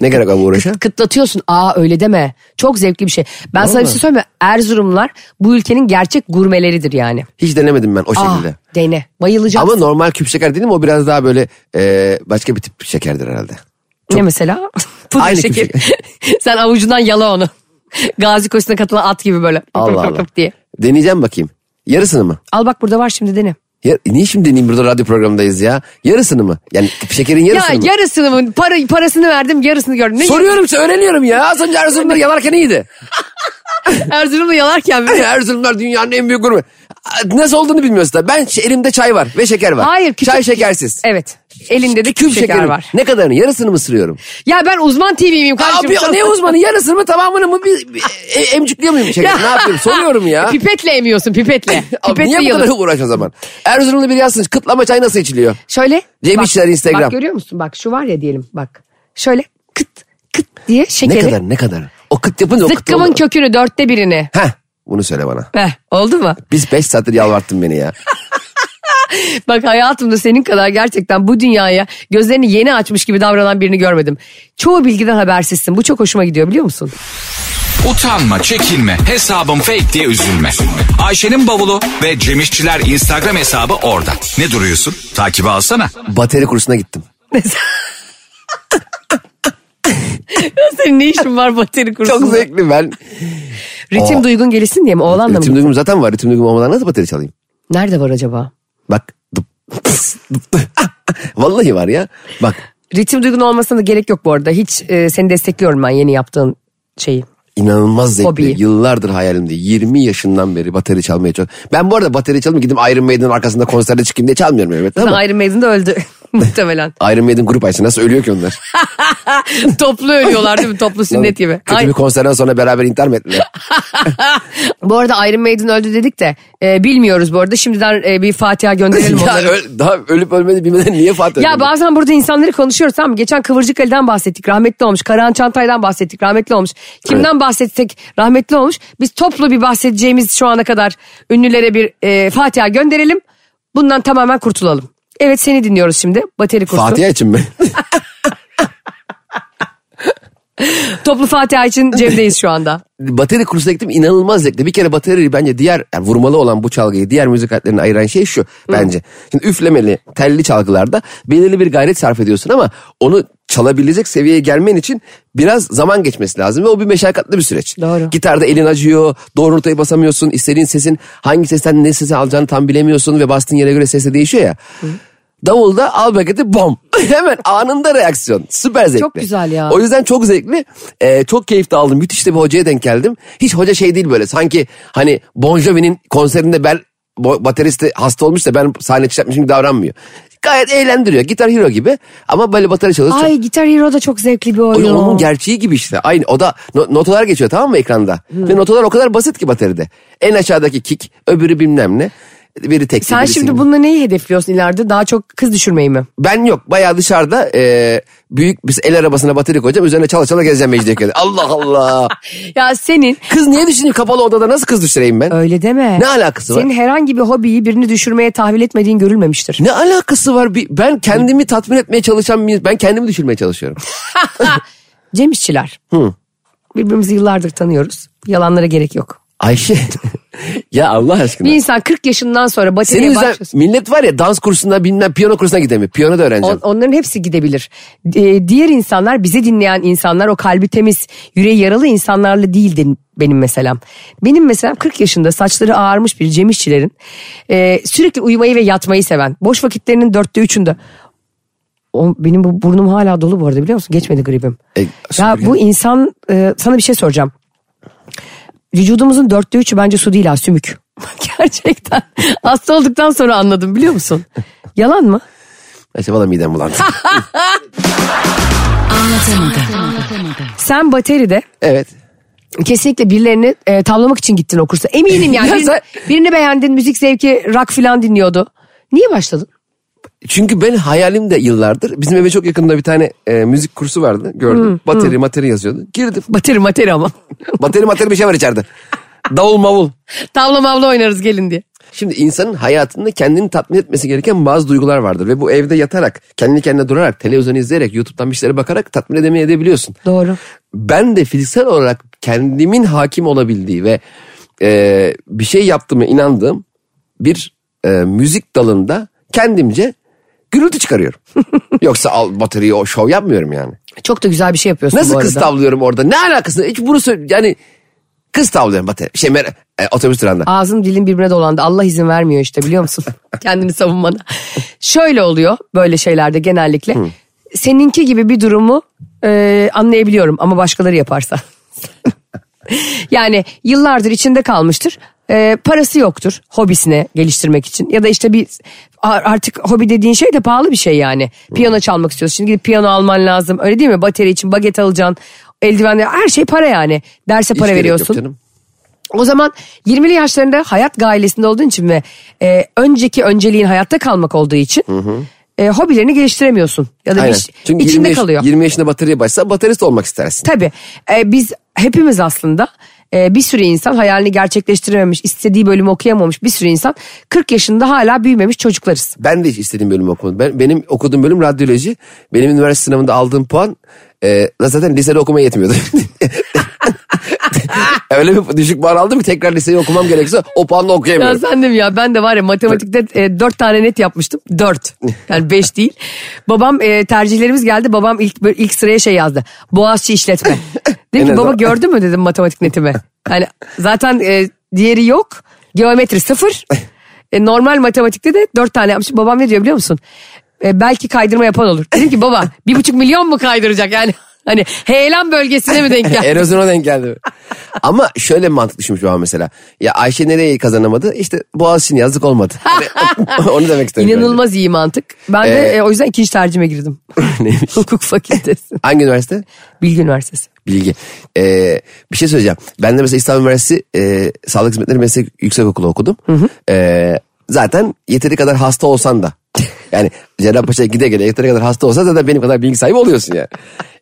Ne gerek var bu uğraşa?
Kıtlatıyorsun. Aa öyle deme. Çok zevkli bir şey. Ben sana bir şey söyleyeyim mi? Erzurumlar bu ülkenin gerçek gurmeleridir yani.
Hiç denemedim ben o
Aa,
Ah, şekilde.
dene. Bayılacaksın.
Ama normal küp şeker değil mi? O biraz daha böyle e, başka bir tip şekerdir herhalde.
Ne mesela? Pudra
Aynı küp
şeker. Sen avucundan yala onu. Gazi koşusuna katılan at gibi böyle.
Allah Allah.
diye.
Deneyeceğim bakayım. Yarısını mı?
Al bak burada var şimdi dene.
Ya, niye şimdi deneyeyim burada radyo programındayız ya? Yarısını mı? Yani küp şekerin yarısını
ya
mı?
yarısını mı? Para, parasını verdim yarısını gördüm. Ne
Soruyorum size öğreniyorum ya. Az önce Erzurumlar yalarken iyiydi.
Erzurum'u yalarken mi?
Erzurumlar dünyanın en büyük gurme. nasıl olduğunu bilmiyorsun da. Ben ş- elimde çay var ve şeker var.
Hayır. küçük-
Çay şekersiz.
Evet. Elinde de küp,
Küp
şeker
şekerim.
var.
Ne kadarını yarısını mı sırıyorum?
Ya ben uzman TV miyim kardeşim?
Abi
Çok-
ne uzmanı yarısını mı tamamını mı bir, bir, e- emcikliyor muyum şeker? ne yapıyorum soruyorum ya.
Pipetle emiyorsun pipetle.
Abi
pipetle
niye bu kadar
yalıyorsun.
uğraş o zaman? Erzurumlu bir yazsın kıtlama çay nasıl içiliyor?
Şöyle.
Cem
bak-
İşler Instagram.
Bak görüyor musun? Bak şu var ya diyelim bak. Şöyle kıt kıt diye
Ne
şekeri.
kadar ne kadar? O kıt yapınca o kıt
Zıkkımın
oldu.
kökünü dörtte birini.
Heh bunu söyle bana.
Heh, oldu mu?
Biz 5 saattir yalvarttın beni ya.
Bak hayatımda senin kadar gerçekten bu dünyaya gözlerini yeni açmış gibi davranan birini görmedim. Çoğu bilgiden habersizsin. Bu çok hoşuma gidiyor biliyor musun?
Utanma, çekinme, hesabım fake diye üzülme. Ayşe'nin bavulu ve Cemişçiler Instagram hesabı orada. Ne duruyorsun? Takibi alsana.
Bateri kursuna gittim.
Senin ne işin var bateri kursunda?
Çok zevkli ben.
Ritim
Aa.
duygun gelişsin diye mi? Oğlanla mı?
Ritim duygum zaten var. Ritim duygum olmadan nasıl bateri çalayım?
Nerede var acaba?
Bak. Dup, tıs, dup, tıs. ah. Vallahi var ya. Bak
Ritim duygun olmasına da gerek yok bu arada. Hiç e, seni destekliyorum ben yeni yaptığın şeyi.
inanılmaz zevkli.
Hobi.
Yıllardır hayalimdi. 20 yaşından beri bateri çalmaya çalışıyorum. Ben bu arada bateri çalmayayım gidip Iron Maiden'in arkasında konserde çıkayım diye çalmıyorum elbette ama.
Iron Maiden de öldü muhtemelen.
Iron Maiden grup açsın nasıl ölüyor ki onlar?
Toplu ölüyorlar değil mi? Toplu sünnet gibi.
Kötü
Ay-
bir konserden sonra beraber intihar mı ettiler?
bu arada Iron Maiden öldü dedik de e, bilmiyoruz bu arada. Şimdiden e, bir Fatiha gönderelim
ya
onlara.
öl- daha ölüp ölmedi bilmeden niye Fatih
Ya
öldü?
bazen burada insanları konuşuyoruz tamam mı? Geçen Kıvırcık Ali'den bahsettik rahmetli olmuş. Karahan Çantay'dan bahsettik rahmetli olmuş. Kimden bahsetsek rahmetli olmuş. Biz toplu bir bahsedeceğimiz şu ana kadar ünlülere bir e, Fatiha gönderelim. Bundan tamamen kurtulalım. Evet seni dinliyoruz şimdi. Bateri kursu.
Fatiha için mi?
Toplu Fatiha için Cem'deyiz şu anda.
bateri kursuna gittim inanılmaz zevkli. Bir kere bateri bence diğer yani vurmalı olan bu çalgıyı diğer müzik aletlerine ayıran şey şu bence. Şimdi üflemeli, telli çalgılarda belirli bir gayret sarf ediyorsun ama onu çalabilecek seviyeye gelmen için biraz zaman geçmesi lazım ve o bir meşakkatli bir süreç.
Doğru.
Gitarda elin acıyor, doğru notayı basamıyorsun, istediğin sesin hangi sesten ne sesi alacağını tam bilemiyorsun ve bastığın yere göre ses de değişiyor ya. Davulda al paketi bom. Hemen anında reaksiyon. Süper zevkli.
Çok güzel ya.
O o yüzden çok zevkli. Ee, çok keyif de aldım. Müthiş de bir hocaya denk geldim. Hiç hoca şey değil böyle. Sanki hani Bon Jovi'nin konserinde ben bo- bateristi hasta olmuş da ben sahne çıkartmışım gibi davranmıyor. Gayet eğlendiriyor. Gitar hero gibi. Ama böyle bateri çalışıyor.
Ay Gitar Hero da çok zevkli bir oyun.
Onun gerçeği gibi işte. Aynı o da no- notalar geçiyor tamam mı ekranda? Ve
Hmm.
notalar o kadar basit ki bateride. En aşağıdaki kick, öbürü bilmem ne. Biri tek.
Sen
biri
şimdi
single.
bununla neyi hedefliyorsun ileride? Daha çok kız düşürmeyi mi?
Ben yok bayağı dışarıda e, büyük biz el arabasına bateri koyacağım. Üzerine çala çala gezeceğim Mecidiyeköy'de. Allah Allah.
Ya senin
Kız niye düşüneyim kapalı odada nasıl kız düşüreyim ben?
öyle deme.
Ne alakası var?
Senin herhangi bir hobiyi birini düşürmeye tahvil etmediğin görülmemiştir.
Ne alakası var? Bir- Ben kendimi tatmin etmeye çalışan bir... Ben kendimi düşürmeye çalışıyorum.
Cem İşçiler. Birbirimizi yıllardır tanıyoruz. Yalanlara gerek yok.
Ayşe. ya Allah aşkına.
Bir şey insan 40 yaşından sonra
Senin
bateriye
yüzünden
başlıyorsun.
millet var ya dans kursuna bilmem piyano kursuna gidemiyor. Piyano da öğreneceğim.
On- onların hepsi gidebilir. Ee, diğer insanlar, bizi dinleyen insanlar, o kalbi temiz, yüreği yaralı insanlarla değil de- benim meselem. Benim meselem 40 yaşında saçları ağarmış bir Cem İşçilerin e, sürekli uyumayı ve yatmayı seven. Boş vakitlerinin dörtte üçünde. O, benim bu burnum hala dolu bu arada biliyor musun? Geçmedi gribim.
E,
ya
süpürge.
bu insan, e, sana bir şey soracağım. Vücudumuzun dörtte üçü bence su değil ha sümük. Gerçekten. Hasta olduktan sonra anladım biliyor musun? Yalan mı?
Ayşe valla midem bulandı.
Sen bateride
evet.
kesinlikle birilerini e, tavlamak için gittin o kursa. Eminim yani.
Ya
Birini-
sen-
Birini beğendin, müzik zevki, rock filan dinliyordu. Niye başladın?
Çünkü ben hayalim de yıllardır. Bizim eve çok yakında bir tane e, müzik kursu vardı. Gördüm. bateri materi yazıyordu. Girdim.
Bateri materi ama.
bateri materi bir şey var içeride. Davul mavul.
Tavla mavla oynarız gelin diye.
Şimdi insanın hayatında kendini tatmin etmesi gereken bazı duygular vardır. Ve bu evde yatarak, kendi kendine durarak, televizyon izleyerek, YouTube'dan bir şeylere bakarak tatmin edemeye edebiliyorsun.
Doğru.
Ben de fiziksel olarak kendimin hakim olabildiği ve e, bir şey yaptığıma inandığım bir e, müzik dalında kendimce gürültü çıkarıyorum. Yoksa al bataryayı o şov yapmıyorum yani.
Çok da güzel bir şey yapıyorsun bu
Nasıl
arada.
kız tavlıyorum orada? Ne alakası? Hiç bunu söyle yani kız tavlıyorum bateri. Şey mer- e, otobüs durağında.
Ağzım dilim birbirine dolandı. Allah izin vermiyor işte biliyor musun? Kendini savunmana. Şöyle oluyor böyle şeylerde genellikle. Seninki gibi bir durumu e, anlayabiliyorum ama başkaları yaparsa. yani yıllardır içinde kalmıştır. e, parası yoktur hobisine geliştirmek için. Ya da işte bir a- artık hobi dediğin şey de pahalı bir şey yani. Piyano çalmak istiyorsun. Şimdi gidip piyano alman lazım. Öyle değil mi? Bateri için baget alacaksın. Eldivenler her şey para yani. Derse
Hiç
para
gerek yok
veriyorsun.
canım.
O zaman 20'li yaşlarında hayat gailesinde olduğun için ve e, önceki önceliğin hayatta kalmak olduğu için e, hobilerini geliştiremiyorsun. Ya da bir,
Aynen.
iş-
Çünkü
içinde
20 yaş-
kalıyor.
20 yaşında batarya başsa baterist olmak istersin.
Tabii. E, biz hepimiz aslında e, bir sürü insan hayalini gerçekleştirememiş, istediği bölümü okuyamamış bir sürü insan 40 yaşında hala büyümemiş çocuklarız.
Ben de hiç istediğim bölümü okumadım. Ben, benim okuduğum bölüm radyoloji. Benim üniversite sınavında aldığım puan e, zaten lisede okumaya yetmiyordu. Öyle bir düşük puan aldım ki tekrar liseyi okumam gerekirse o puanla
Ya
okuyamıyorum.
sen de mi ya ben de var ya matematikte e, 4 tane net yapmıştım. 4 yani 5 değil. Babam e, tercihlerimiz geldi babam ilk bö- ilk sıraya şey yazdı. Boğaziçi işletme.
En
Dedim ki
az
baba
o."
gördün mü dedim matematik netimi. Yani zaten e, diğeri yok. Geometri sıfır. E, normal matematikte de 4 tane yapmışım. Babam ne diyor biliyor musun? E, belki kaydırma yapan olur. Dedim ki baba bir buçuk milyon mu kaydıracak yani? Hani heyelan bölgesine mi denk geldi?
Erozyona denk geldi. Ama şöyle bir mantık düşünmüş babam mesela. Ya Ayşe nereye kazanamadı? İşte Boğaziçi'ni yazık olmadı. Hani Onu demek istedim.
İnanılmaz iyi mantık. Ben de
Ee,
e, o yüzden ikinci tercihime girdim.
Neymiş?
Hukuk fakültesi.
bence. Hangi üniversite?
Bilgi Üniversitesi.
Bilgi. Ee, bir şey söyleyeceğim. Ben de mesela İstanbul Üniversitesi e, Sağlık Hizmetleri Meslek Yüksekokulu okudum. Ee, zaten yeteri kadar hasta olsan da. Yani Cerrahpaşa'ya gide gele yeteri kadar hasta olsan zaten benim kadar bilgi sahibi oluyorsun yani.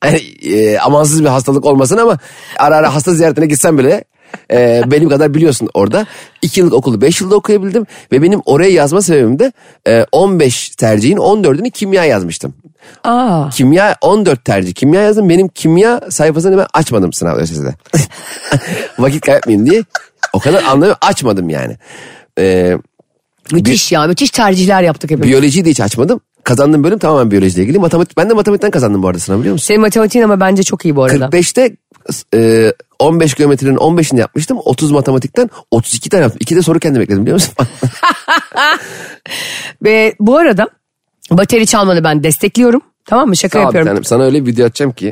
Yani e, amansız bir hastalık olmasın ama ara ara hasta ziyaretine gitsen bile e, benim kadar biliyorsun orada. 2 yıllık okulu 5 yılda okuyabildim ve benim oraya yazma sebebim de e, 15 tercihin 14'ünü kimya yazmıştım.
Aa.
Kimya 14 tercih. Kimya yazdım. Benim kimya sayfasını ben açmadım sınav ÖSS'de. Vakit kaybetmeyeyim diye. O kadar anlamıyorum. Açmadım yani. Ee,
Müthiş ya müthiş tercihler yaptık hepimiz.
biyolojiyi de hiç açmadım. Kazandığım bölüm tamamen biyolojiyle ilgili. Matematik, ben de matematikten kazandım bu arada sınav biliyor musun?
Senin matematiğin ama bence çok iyi bu arada.
45'te e, 15 geometrinin 15'ini yapmıştım. 30 matematikten 32 tane yaptım. İki de soru kendi bekledim biliyor musun?
Ve bu arada bateri çalmanı ben destekliyorum. Tamam mı? Şaka
Sağ ol bir
yapıyorum.
tanem. Sana öyle bir video atacağım ki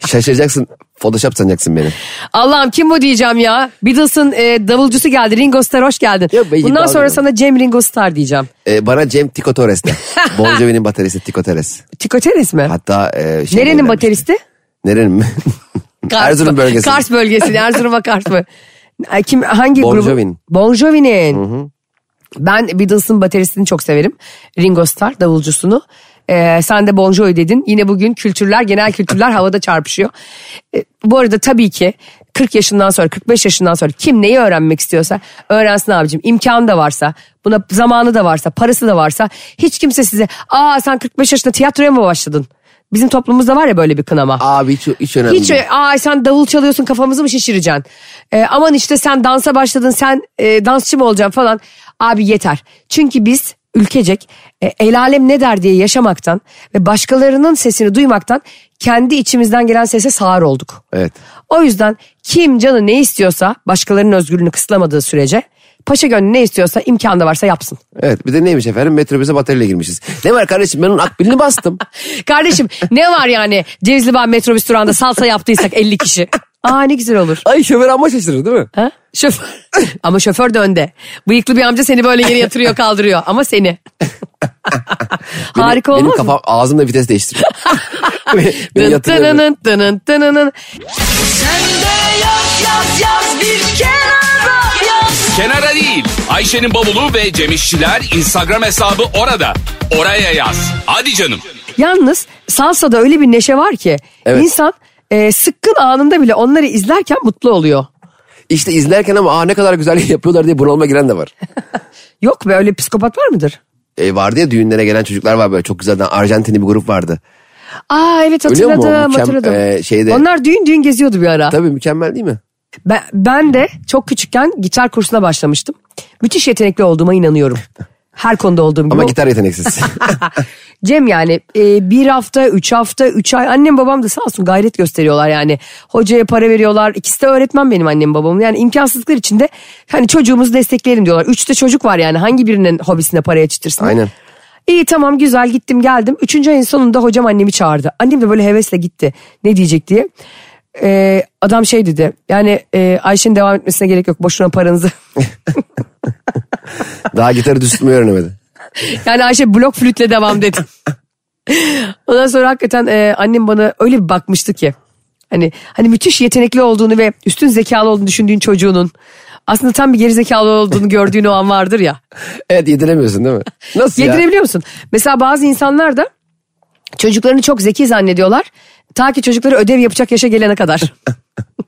Şey şaşıracaksın. Photoshop sanacaksın beni.
Allah'ım kim bu diyeceğim ya. Beatles'ın e, davulcusu geldi. Ringo Starr hoş geldin.
Ya ben iyi
Bundan sonra
bağlıyorum.
sana Cem Ringo Starr diyeceğim.
Ee, bana Cem Tico Torres de. Bon Jovi'nin bateristi Tico Torres.
Tico Teres mi?
Hatta e, şey
Nerenin
evlenmişti.
bateristi?
Nerenin mi?
Kars-
Erzurum bölgesi.
Kars bölgesi. Erzurum'a Kars mı? Ay, Kim, hangi
Bon
grubu?
Jovi'nin.
Bon Jovi'nin. Ben Beatles'ın bateristini çok severim. Ringo Starr davulcusunu. Ee, sen de Bon Jovi dedin. Yine bugün kültürler, genel kültürler havada çarpışıyor. Ee, bu arada tabii ki 40 yaşından sonra, 45 yaşından sonra kim neyi öğrenmek istiyorsa öğrensin abicim. İmkanı da varsa, buna zamanı da varsa, parası da varsa hiç kimse size aa sen 45 yaşında tiyatroya mı başladın? Bizim toplumumuzda var ya böyle bir kınama.
Abi hiç, hiç önemli
Hiç
değil.
öyle, Aa, sen davul çalıyorsun kafamızı mı şişireceksin? Ee, aman işte sen dansa başladın sen e, dansçı mı olacaksın falan. Abi yeter. Çünkü biz ülkecek e, el alem ne der diye yaşamaktan ve başkalarının sesini duymaktan kendi içimizden gelen sese sağır olduk.
Evet.
O yüzden kim canı ne istiyorsa başkalarının özgürlüğünü kısıtlamadığı sürece paşa gönlü ne istiyorsa imkanı da varsa yapsın.
Evet bir de neymiş efendim metrobüse bataryayla girmişiz. Ne var kardeşim ben onun akbilini bastım.
Kardeşim ne var yani Cevizli metrobüs durağında salsa yaptıysak 50 kişi. Aa ne güzel olur.
Ay şoför amma şaşırır değil mi?
Ha? Şoför. Ama şoför de önde. Bıyıklı bir amca seni böyle yere yatırıyor kaldırıyor ama seni. Harika
Benim
olmaz mı?
kafam ağzımda vites değiştiriyor. Beni- Beni
Dın
yatırıyor.
tınının tının tınının.
Kenara değil. Ayşe'nin bavulu ve Cemişçiler Instagram hesabı orada. Oraya yaz. Hadi canım.
Yalnız salsada öyle bir neşe var ki
Evet.
insan e, sıkkın anında bile onları izlerken mutlu oluyor.
İşte izlerken ama aa ne kadar güzel yapıyorlar diye bunalıma giren de var.
Yok be öyle psikopat var mıdır?
E, vardı ya düğünlere gelen çocuklar var böyle çok güzelden Arjantinli bir grup vardı.
Aa evet
Ölüyor mu o
hatırladım
mükemmel-
hatırladım.
e, şeyde-
Onlar düğün düğün geziyordu bir ara.
Tabii mükemmel değil mi?
Ben, ben de çok küçükken gitar kursuna başlamıştım. Müthiş yetenekli olduğuma inanıyorum. Her konuda olduğum gibi.
Ama
O-
gitar yeteneksiz.
Cem yani e, bir hafta, üç hafta, üç ay annem babam da sağ olsun gayret gösteriyorlar yani. Hocaya para veriyorlar. İkisi de öğretmen benim annem babam. Yani imkansızlıklar içinde hani çocuğumuzu destekleyelim diyorlar. Üçte çocuk var yani hangi birinin hobisine para yetiştirsin.
Aynen.
İyi tamam güzel gittim geldim. Üçüncü ayın sonunda hocam annemi çağırdı. Annem de böyle hevesle gitti ne diyecek diye. e, adam şey dedi. Yani e, Ayşe'nin devam etmesine gerek yok. Boşuna paranızı.
Daha gitarı düzeltmeyi öğrenemedi.
yani Ayşe blok flütle devam dedi. Ondan sonra hakikaten e, annem bana öyle bir bakmıştı ki. Hani hani müthiş yetenekli olduğunu ve üstün zekalı olduğunu düşündüğün çocuğunun aslında tam bir geri zekalı olduğunu gördüğün o an vardır ya.
Evet yediremiyorsun değil mi? Nasıl ya?
Yedirebiliyor musun? Mesela bazı insanlar da çocuklarını çok zeki zannediyorlar. Ta ki çocukları ödev yapacak yaşa gelene kadar.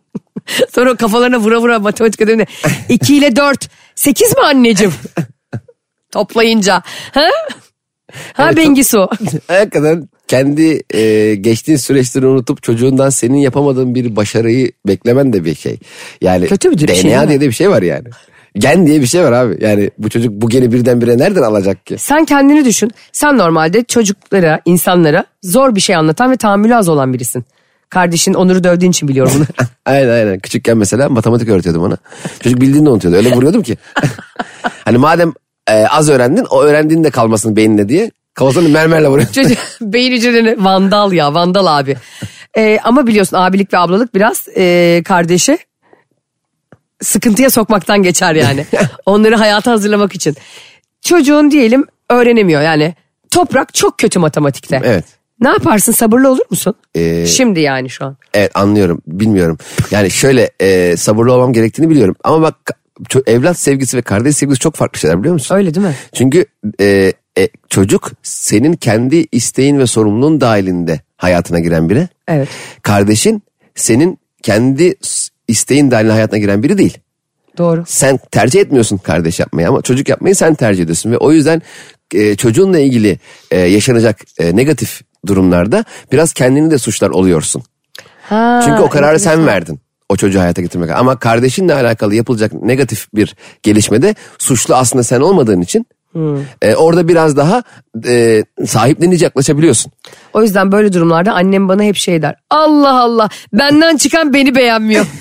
Sonra kafalarına vura vura matematik ödevine. 2 ile 4, 8 mi anneciğim? Toplayınca. Ha? Ha Bengisu.
Hakikaten kendi e, geçtiğin süreçleri unutup çocuğundan senin yapamadığın bir başarıyı beklemen de bir şey. Yani
Kötü bir
DNA
şey değil mi?
diye de bir şey var yani. Gen diye bir şey var abi. Yani bu çocuk bu geni birdenbire nereden alacak ki?
Sen kendini düşün. Sen normalde çocuklara, insanlara zor bir şey anlatan ve tahammülü az olan birisin. Kardeşin Onur'u dövdüğün için biliyorum bunu.
aynen aynen. Küçükken mesela matematik öğretiyordum ona. Çocuk bildiğini de unutuyordu. Öyle vuruyordum ki. hani madem e, az öğrendin o öğrendiğin de kalmasın beyninde diye. Kafasını mermerle vuruyor.
Çocuk beyin hücrelerini vandal ya vandal abi. Ee, ama biliyorsun abilik ve ablalık biraz ee, kardeşi sıkıntıya sokmaktan geçer yani. Onları hayata hazırlamak için. Çocuğun diyelim öğrenemiyor yani. Toprak çok kötü matematikte.
Evet.
Ne yaparsın sabırlı olur musun? Şimdi yani şu an.
Evet anlıyorum bilmiyorum. Yani şöyle e, sabırlı olmam gerektiğini biliyorum. Ama bak ço- evlat sevgisi ve kardeş sevgisi çok farklı şeyler biliyor musun?
Öyle değil mi?
Çünkü e, e, çocuk senin kendi isteğin ve sorumluluğun dahilinde hayatına giren biri.
Evet.
Kardeşin senin kendi s- isteğin dahilinde hayatına giren biri değil.
Doğru.
Sen tercih etmiyorsun kardeş yapmayı ama çocuk yapmayı sen tercih ediyorsun. Ve o yüzden e, çocuğunla ilgili e, yaşanacak e, negatif durumlarda biraz kendini de suçlar oluyorsun.
Ha,
Çünkü o kararı sen verdin. O çocuğu hayata getirmek. Ama kardeşinle alakalı yapılacak negatif bir gelişmede suçlu aslında sen olmadığın için
Hmm.
e, orada biraz daha e, sahiplenici yaklaşabiliyorsun.
O yüzden böyle durumlarda annem bana hep şey der. Allah Allah benden çıkan beni beğenmiyor.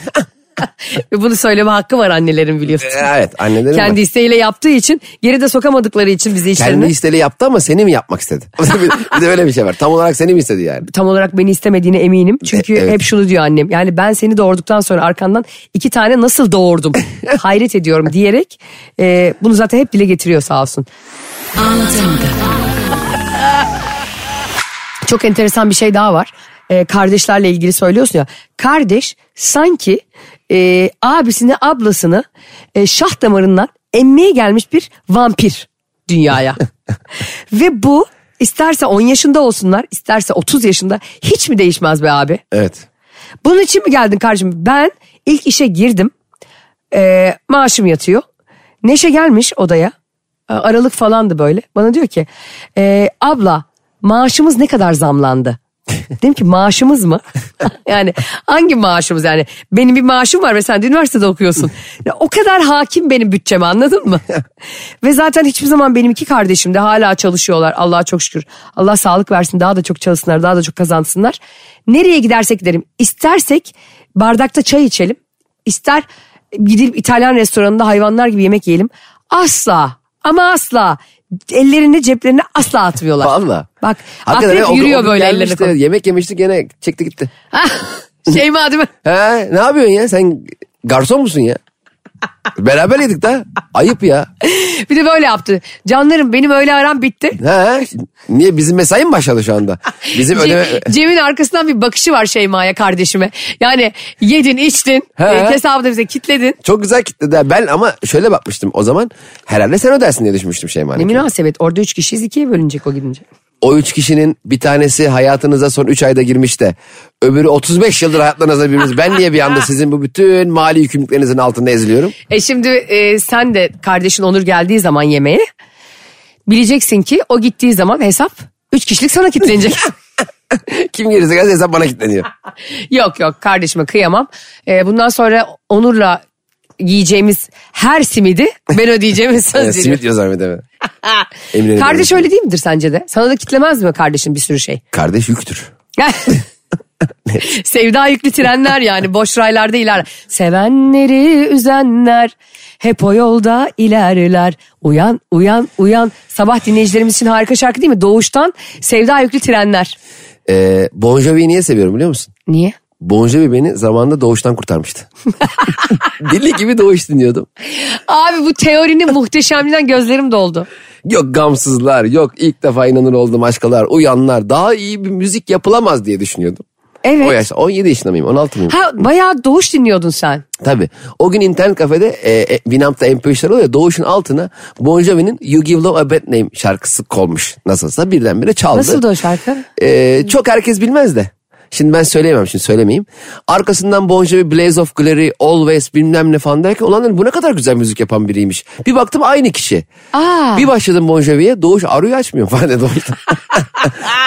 Ve Bunu söyleme hakkı var annelerin biliyorsun.
E, Evet annelerin var.
Kendi isteğiyle yaptığı için geri de sokamadıkları için bizi
kendi
içlerine.
isteğiyle yaptı ama seni mi yapmak istedi? bir, bir de böyle bir şey var. Tam olarak seni mi istedi yani?
Tam olarak beni istemediğine eminim. Çünkü
E, evet.
hep şunu diyor annem. Yani ben seni doğurduktan sonra arkandan iki tane nasıl doğurdum hayret ediyorum diyerek e, bunu zaten hep dile getiriyor sağ olsun. Çok enteresan bir şey daha var. Ee, kardeşlerle ilgili söylüyorsun ya. Kardeş sanki e, abisini ablasını e, şah damarından emmeye gelmiş bir vampir dünyaya. Ve bu isterse 10 yaşında olsunlar isterse 30 yaşında hiç mi değişmez be abi?
Evet.
Bunun için mi geldin kardeşim? Ben ilk işe girdim. Ee, maaşım yatıyor. Neşe gelmiş odaya. Ee, Aralık falandı böyle. Bana diyor ki "Ee, abla maaşımız ne kadar zamlandı? Dedim ki maaşımız mı? yani hangi maaşımız yani? Benim bir maaşım var ve sen de üniversitede okuyorsun. Ya o kadar hakim benim bütçeme anladın mı? ve zaten hiçbir zaman benim iki kardeşim de hala çalışıyorlar. Allah'a çok şükür. Allah sağlık versin daha da çok çalışsınlar daha da çok kazansınlar. Nereye gidersek gidelim. İstersek bardakta çay içelim. İster gidip İtalyan restoranında hayvanlar gibi yemek yiyelim. Asla ama asla ellerini ceplerine asla atmıyorlar.
Valla.
Bak
Hakikaten
akrep
o- o
yürüyor
gün
böyle
gelmişti,
ellerini. koyuyor.
Yemek yemişti gene çekti gitti.
şey mi adı mı?
Ha, ne yapıyorsun ya sen garson musun ya? Beraber yedik de ayıp ya.
Bir de böyle yaptı. Canlarım benim öyle aram bitti.
Ha, niye bizim mesai mi başladı şu anda? Bizim ödeme...
Ce- Cem'in arkasından bir bakışı var Şeyma'ya kardeşime. Yani yedin içtin.
He.
E, hesabı da bize kitledin.
Çok güzel kitledi. ha. Ben ama şöyle bakmıştım o zaman. Herhalde sen ödersin diye düşünmüştüm
Ne
Şeyma'nın.
münasebet orada üç kişiyiz ikiye bölünecek o gidince.
O üç kişinin bir tanesi hayatınıza son üç ayda girmiş de öbürü 35 yıldır hayatlarınızda birbiriniz. Ben niye bir anda sizin bu bütün mali yükümlülüklerinizin altında eziliyorum?
E şimdi e, sen de kardeşin Onur geldiği zaman yemeğe bileceksin ki o gittiği zaman hesap üç kişilik sana kitlenecek.
Kim gelirse gelsin hesap bana kilitleniyor.
Yok yok kardeşime kıyamam. Ee, bundan sonra Onur'la yiyeceğimiz her simidi ben ödeyeceğimi
Yani
söz veriyorum.
Ee, simit yazar bir de.
Kardeş
Emine'nin kardeşi.
öyle değil midir sence de? Sana da kitlemez mi kardeşin bir sürü şey?
Kardeş yüktür.
Sevda yüklü trenler yani boş raylarda iler. Sevenleri üzenler hep o yolda ilerler. Uyan uyan uyan. Sabah dinleyicilerimiz için harika şarkı değil mi? Doğuştan sevda yüklü trenler.
Ee, bon Jovi'yi niye seviyorum biliyor musun?
Niye?
Bonjevi beni zamanında doğuştan kurtarmıştı. Deli gibi doğuş dinliyordum.
Abi bu teorinin muhteşemliğinden gözlerim doldu.
Yok gamsızlar, yok ilk defa inanır oldum aşkalar, uyanlar. Daha iyi bir müzik yapılamaz diye düşünüyordum.
Evet.
O yaşta 17 yaşında mıyım, 16 mıyım?
Ha bayağı doğuş dinliyordun sen.
Tabii. O gün internet kafede e, e, Winamp'ta MP3'ler oluyor. ya, Doğuş'un altına Bon Jovi'nin You Give Love a Bad Name şarkısı konmuş. Nasılsa birdenbire çaldı.
Nasıldı o şarkı?
E, çok herkes bilmez de. Şimdi ben söyleyemem şimdi söylemeyeyim. Arkasından Bon Jovi, Blaze of Glory, Always bilmem ne falan derken ulan dedim, bu ne kadar güzel müzik yapan biriymiş. Bir baktım aynı kişi.
Aa.
Bir başladım Bon Jovi'ye Doğuş arıyor açmıyor falan dedi.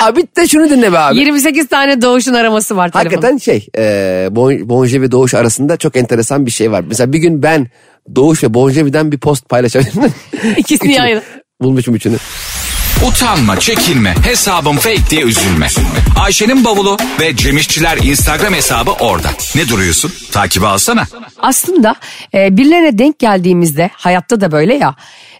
abi de şunu dinle be abi.
28 tane doğuşun araması var telefonun.
Hakikaten şey e, bon, Bonje ve Doğuş arasında çok enteresan bir şey var. Mesela bir gün ben Doğuş ve Bonjevi'den bir post paylaşabilirim.
İkisini
Üçünü.
yayın.
Bulmuşum üçünü.
Utanma, çekinme, hesabım fake diye üzülme. Ayşe'nin bavulu ve Cemişçiler Instagram hesabı orada. Ne duruyorsun? Takibi alsana.
Aslında e, birilerine denk geldiğimizde hayatta da böyle ya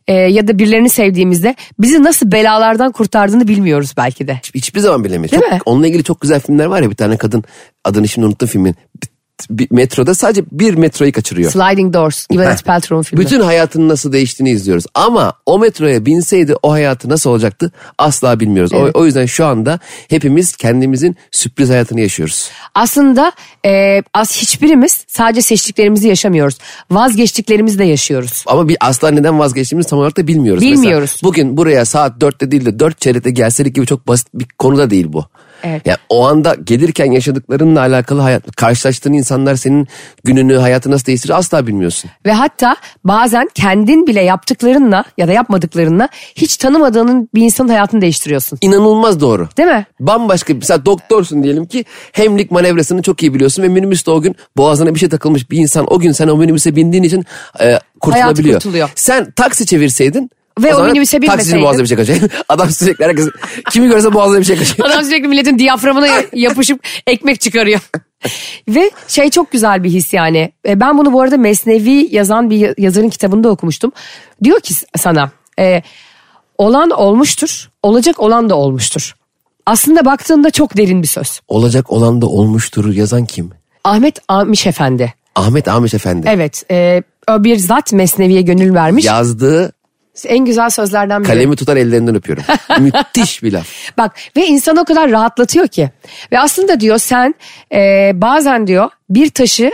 e, ya da birilerini sevdiğimizde bizi nasıl belalardan kurtardığını bilmiyoruz belki de.
Hiçbir zaman bilemeyiz.
Değil
Çok-
mi?
Onunla ilgili çok güzel filmler var ya bir tane kadın adını şimdi unuttum filmin. Bir- bir metroda sadece bir metroyu kaçırıyor.
Sliding Doors, Gwyneth
Heh.
Paltrow'un filmi.
Bütün hayatının nasıl değiştiğini izliyoruz. Ama o metroya binseydi o hayatı nasıl olacaktı asla bilmiyoruz. O-
Evet.
O, yüzden şu anda hepimiz kendimizin sürpriz hayatını yaşıyoruz.
Aslında e, az hiçbirimiz sadece seçtiklerimizi yaşamıyoruz. Vazgeçtiklerimizi de yaşıyoruz.
Ama bir asla neden vazgeçtiğimizi tam olarak da bilmiyoruz.
Bilmiyoruz.
Mesela bugün buraya saat 4'te değil de 4 çeyrekte gelselik gibi çok basit bir konuda değil bu.
Evet.
Yani o anda gelirken yaşadıklarınla alakalı hayat, karşılaştığın insanlar senin gününü, hayatı nasıl değiştirir asla bilmiyorsun.
Ve hatta bazen kendin bile yaptıklarınla ya da yapmadıklarınla hiç tanımadığın bir insanın hayatını değiştiriyorsun.
İnanılmaz doğru.
Değil mi?
Bambaşka bir, mesela doktorsun diyelim ki hemlik manevrasını çok iyi biliyorsun ve minibüste o gün boğazına bir şey takılmış bir insan o gün sen o minibüse bindiğin için e, kurtulabiliyor.
kurtuluyor.
Sen taksi çevirseydin
Ve o
zaman
minibüse binmeseydin.
Taksicinin boğazına bir şey kaçacak. Adam sürekli herkes kimi görse boğazına bir şey kaçacak.
Adam sürekli milletin diyaframına ya- yapışıp ekmek çıkarıyor. Ve şey çok güzel bir his yani. E, Ben bunu bu arada Mesnevi yazan bir ya- yazarın kitabında okumuştum. Diyor ki s- sana e, olan olmuştur, olacak olan da olmuştur. Aslında baktığında çok derin bir söz.
Olacak olan da olmuştur yazan kim?
Ahmet Amiş Efendi.
Ahmet Amiş Efendi.
Evet e, o bir zat Mesnevi'ye gönül vermiş.
Yazdığı
En güzel sözlerden biri.
kalemi tutar ellerinden öpüyorum. Müthiş bir laf.
Bak ve insanı o kadar rahatlatıyor ki. Ve aslında diyor sen e, bazen diyor bir taşı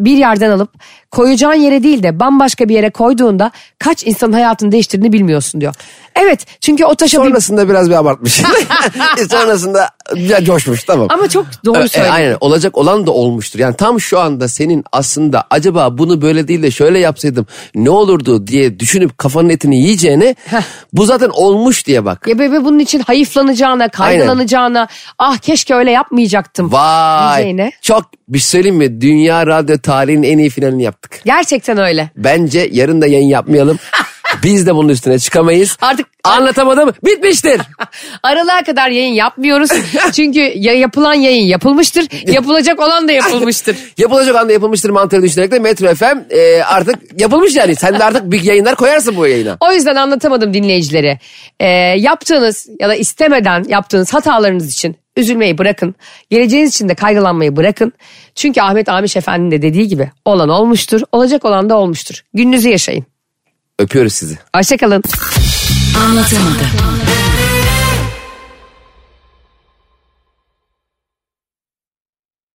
bir yerden alıp koyacağın yere değil de bambaşka bir yere koyduğunda kaç insanın hayatını değiştirdiğini bilmiyorsun diyor. Evet çünkü o taşa bir...
Sonrasında biraz bir abartmış. Sonrasında ya coşmuş tamam.
Ama çok doğru
E, e,
söylüyor.
aynen olacak olan da olmuştur. Yani tam şu anda senin aslında acaba bunu böyle değil de şöyle yapsaydım ne olurdu diye düşünüp kafanın etini yiyeceğine bu zaten olmuş diye bak.
Ya bebe bunun için hayıflanacağına, kaygılanacağına, ah keşke öyle yapmayacaktım.
Vay
diyeceğine.
çok bir şey söyleyeyim mi dünya radyo tarihinin en iyi finalini yaptık.
Gerçekten öyle.
Bence yarın da yayın yapmayalım. Biz de bunun üstüne çıkamayız.
Artık-
anlatamadım bitmiştir.
Aralığa kadar yayın yapmıyoruz. Çünkü ya yapılan yayın yapılmıştır, yapılacak olan da yapılmıştır.
Yapılacak anda yapılmıştır mantığını düşünerek de Metro FM e, artık yapılmış yani. Sen de artık bir yayınlar koyarsın bu yayına.
O yüzden anlatamadım dinleyicilere. Ee, yaptığınız ya da istemeden yaptığınız hatalarınız için üzülmeyi bırakın. Geleceğiniz için de kaygılanmayı bırakın. Çünkü Ahmet Amiş Efendi'nin de dediği gibi olan olmuştur, olacak olan da olmuştur. Gününüzü yaşayın.
Öpüyoruz sizi.
Hoşçakalın.
Anlatamadım.